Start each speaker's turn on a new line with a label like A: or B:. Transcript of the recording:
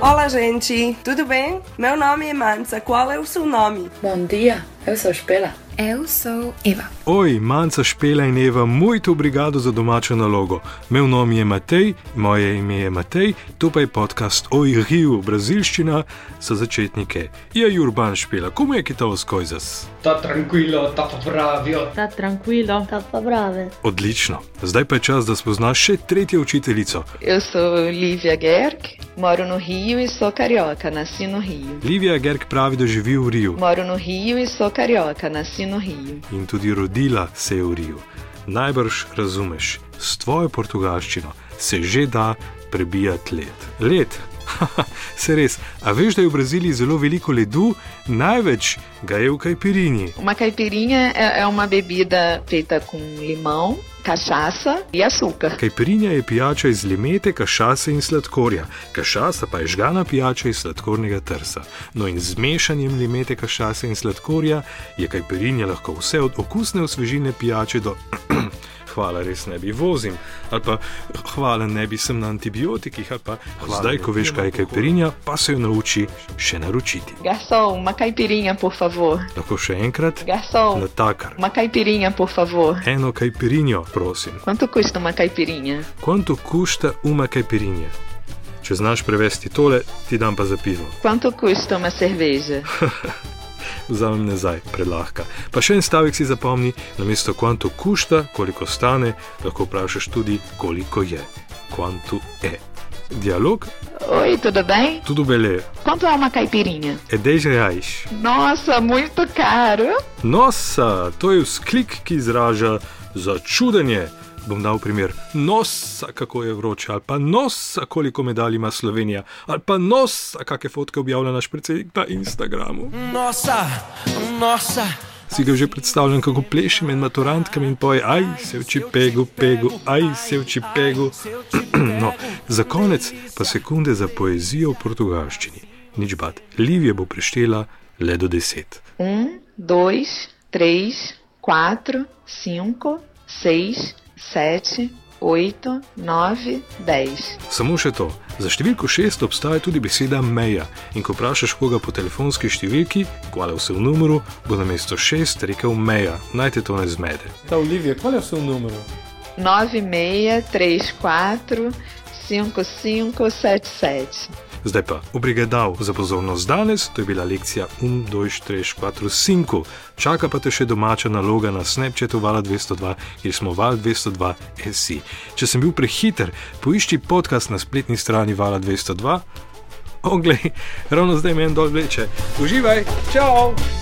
A: Olá, gente! Tudo bem? Meu nome é Mansa. Qual é o seu nome?
B: Bom dia, eu sou Espela.
C: Eu sou Eva.
D: Oi, Mansa, Špela in Eva, muito obrigado za domačo nalogo. Meu nome je Matej, moje ime je Matej, to pa je podcast Oj Rio, brazilščina za začetnike. Je Urban Špela, komu je kitalsko izas?
E: Tá tranquilo, tá pravijo.
F: Tá tranquilo?
G: Tá brava.
D: Odlično. Zdaj pa je čas, da spoznaš še tretjo učiteljico.
H: Eu sou Lívia Gerk, moro no Rio e sou carioca, nasci no Rio.
D: Livija Gerk pravi, da živi v Riju
H: Moro no Rio e sou carioca, nasci no Rio.
D: in tudi rodila se je v Riju. Najbrž razumeš, s tvojo portugalščino se že da prebijati led. Led, se res, a veš, da je v Braziliji zelo veliko ledu, največ ga je v Kajpirini.
H: Uma caipirinha é é uma bebida feita com limão, cachaça e açúcar.
D: Kajpirinja je pijača iz limete, kašase in sladkorja, kašasa pa je žgana pijača iz sladkornega trsa. No in z mešanjem limete, kašase in sladkorja je kajpirinja lahko vse od okusne osvežine pijače do. Hvala, res ne bi vozil, ali pa hvala, ne bi sem na antibiotikih, ali pa hvala, zdaj, ko veš, kaj je kajpirinja, pa se jo nauči še naročiti.
H: Garçom, uma caipirinha, por favor.
D: Lahko še enkrat,
H: Garçom,
D: natakar,
H: uma caipirinha, por favor.
D: eno kajpirinjo, prosim.
H: Quanto custa uma caipirinha?
D: Quanto custa uma caipirinha? Če znaš prevesti tole, ti dam pa za pivo.
H: Quanto custa uma cerveja?
D: Vzamem nazaj, prelahka. Pa še en stavek si zapomni, na mesto quanto custa, koliko stane, lahko vprašaš tudi, koliko je. Quanto je. Dialog,
H: Oi, tudo bem?
D: tudo bele,
H: Quanto é uma caipirinha?
D: é 10 reais.
H: Nossa, muito caro!
D: Nossa, No, to je vzklik, ki izraža začudenje. Bom dal primer, nosa, kako je vroče, ali pa nosa, koliko medalj ima Slovenija, ali pa nosa, kakšne fotke objavlja naš predsednik na Instagramu.
I: Nossa, nossa.
D: Si ga že predstavljam, kako pleše med maturantkami in poje, aj se uči pegu, pegu, aj se uči pegu. No, za konec pa sekunde za poezijo v portugalščini. Nič bad, Livija bo preštela le do deset.
H: Um, dois, três, quatro, cinco, seis, sete, oito, nove, dez.
D: Samo še to. Za številko šest obstaja tudi beseda meja. In ko vprašaš koga po telefonski številki, kvala vse v numru, bo na mesto šest rekel meja. Naj te to ne zmede.
E: Tá, Olivia, qual é o seu número?
H: Nove, meia, três, quatro, cinco, cinco, sete, sete.
D: Zdaj pa, obrigadal za pozornost danes, to je bila lekcija 1, 2, 3, 4, 5. Čaka pa te še domača naloga na Snapchatu Vala 202, kjer smo Val 202 SI. Če sem bil prehiter, poišči podcast na spletni strani Vala 202. Oglej, ravno zdaj meni dol vleče. Uživaj, čau!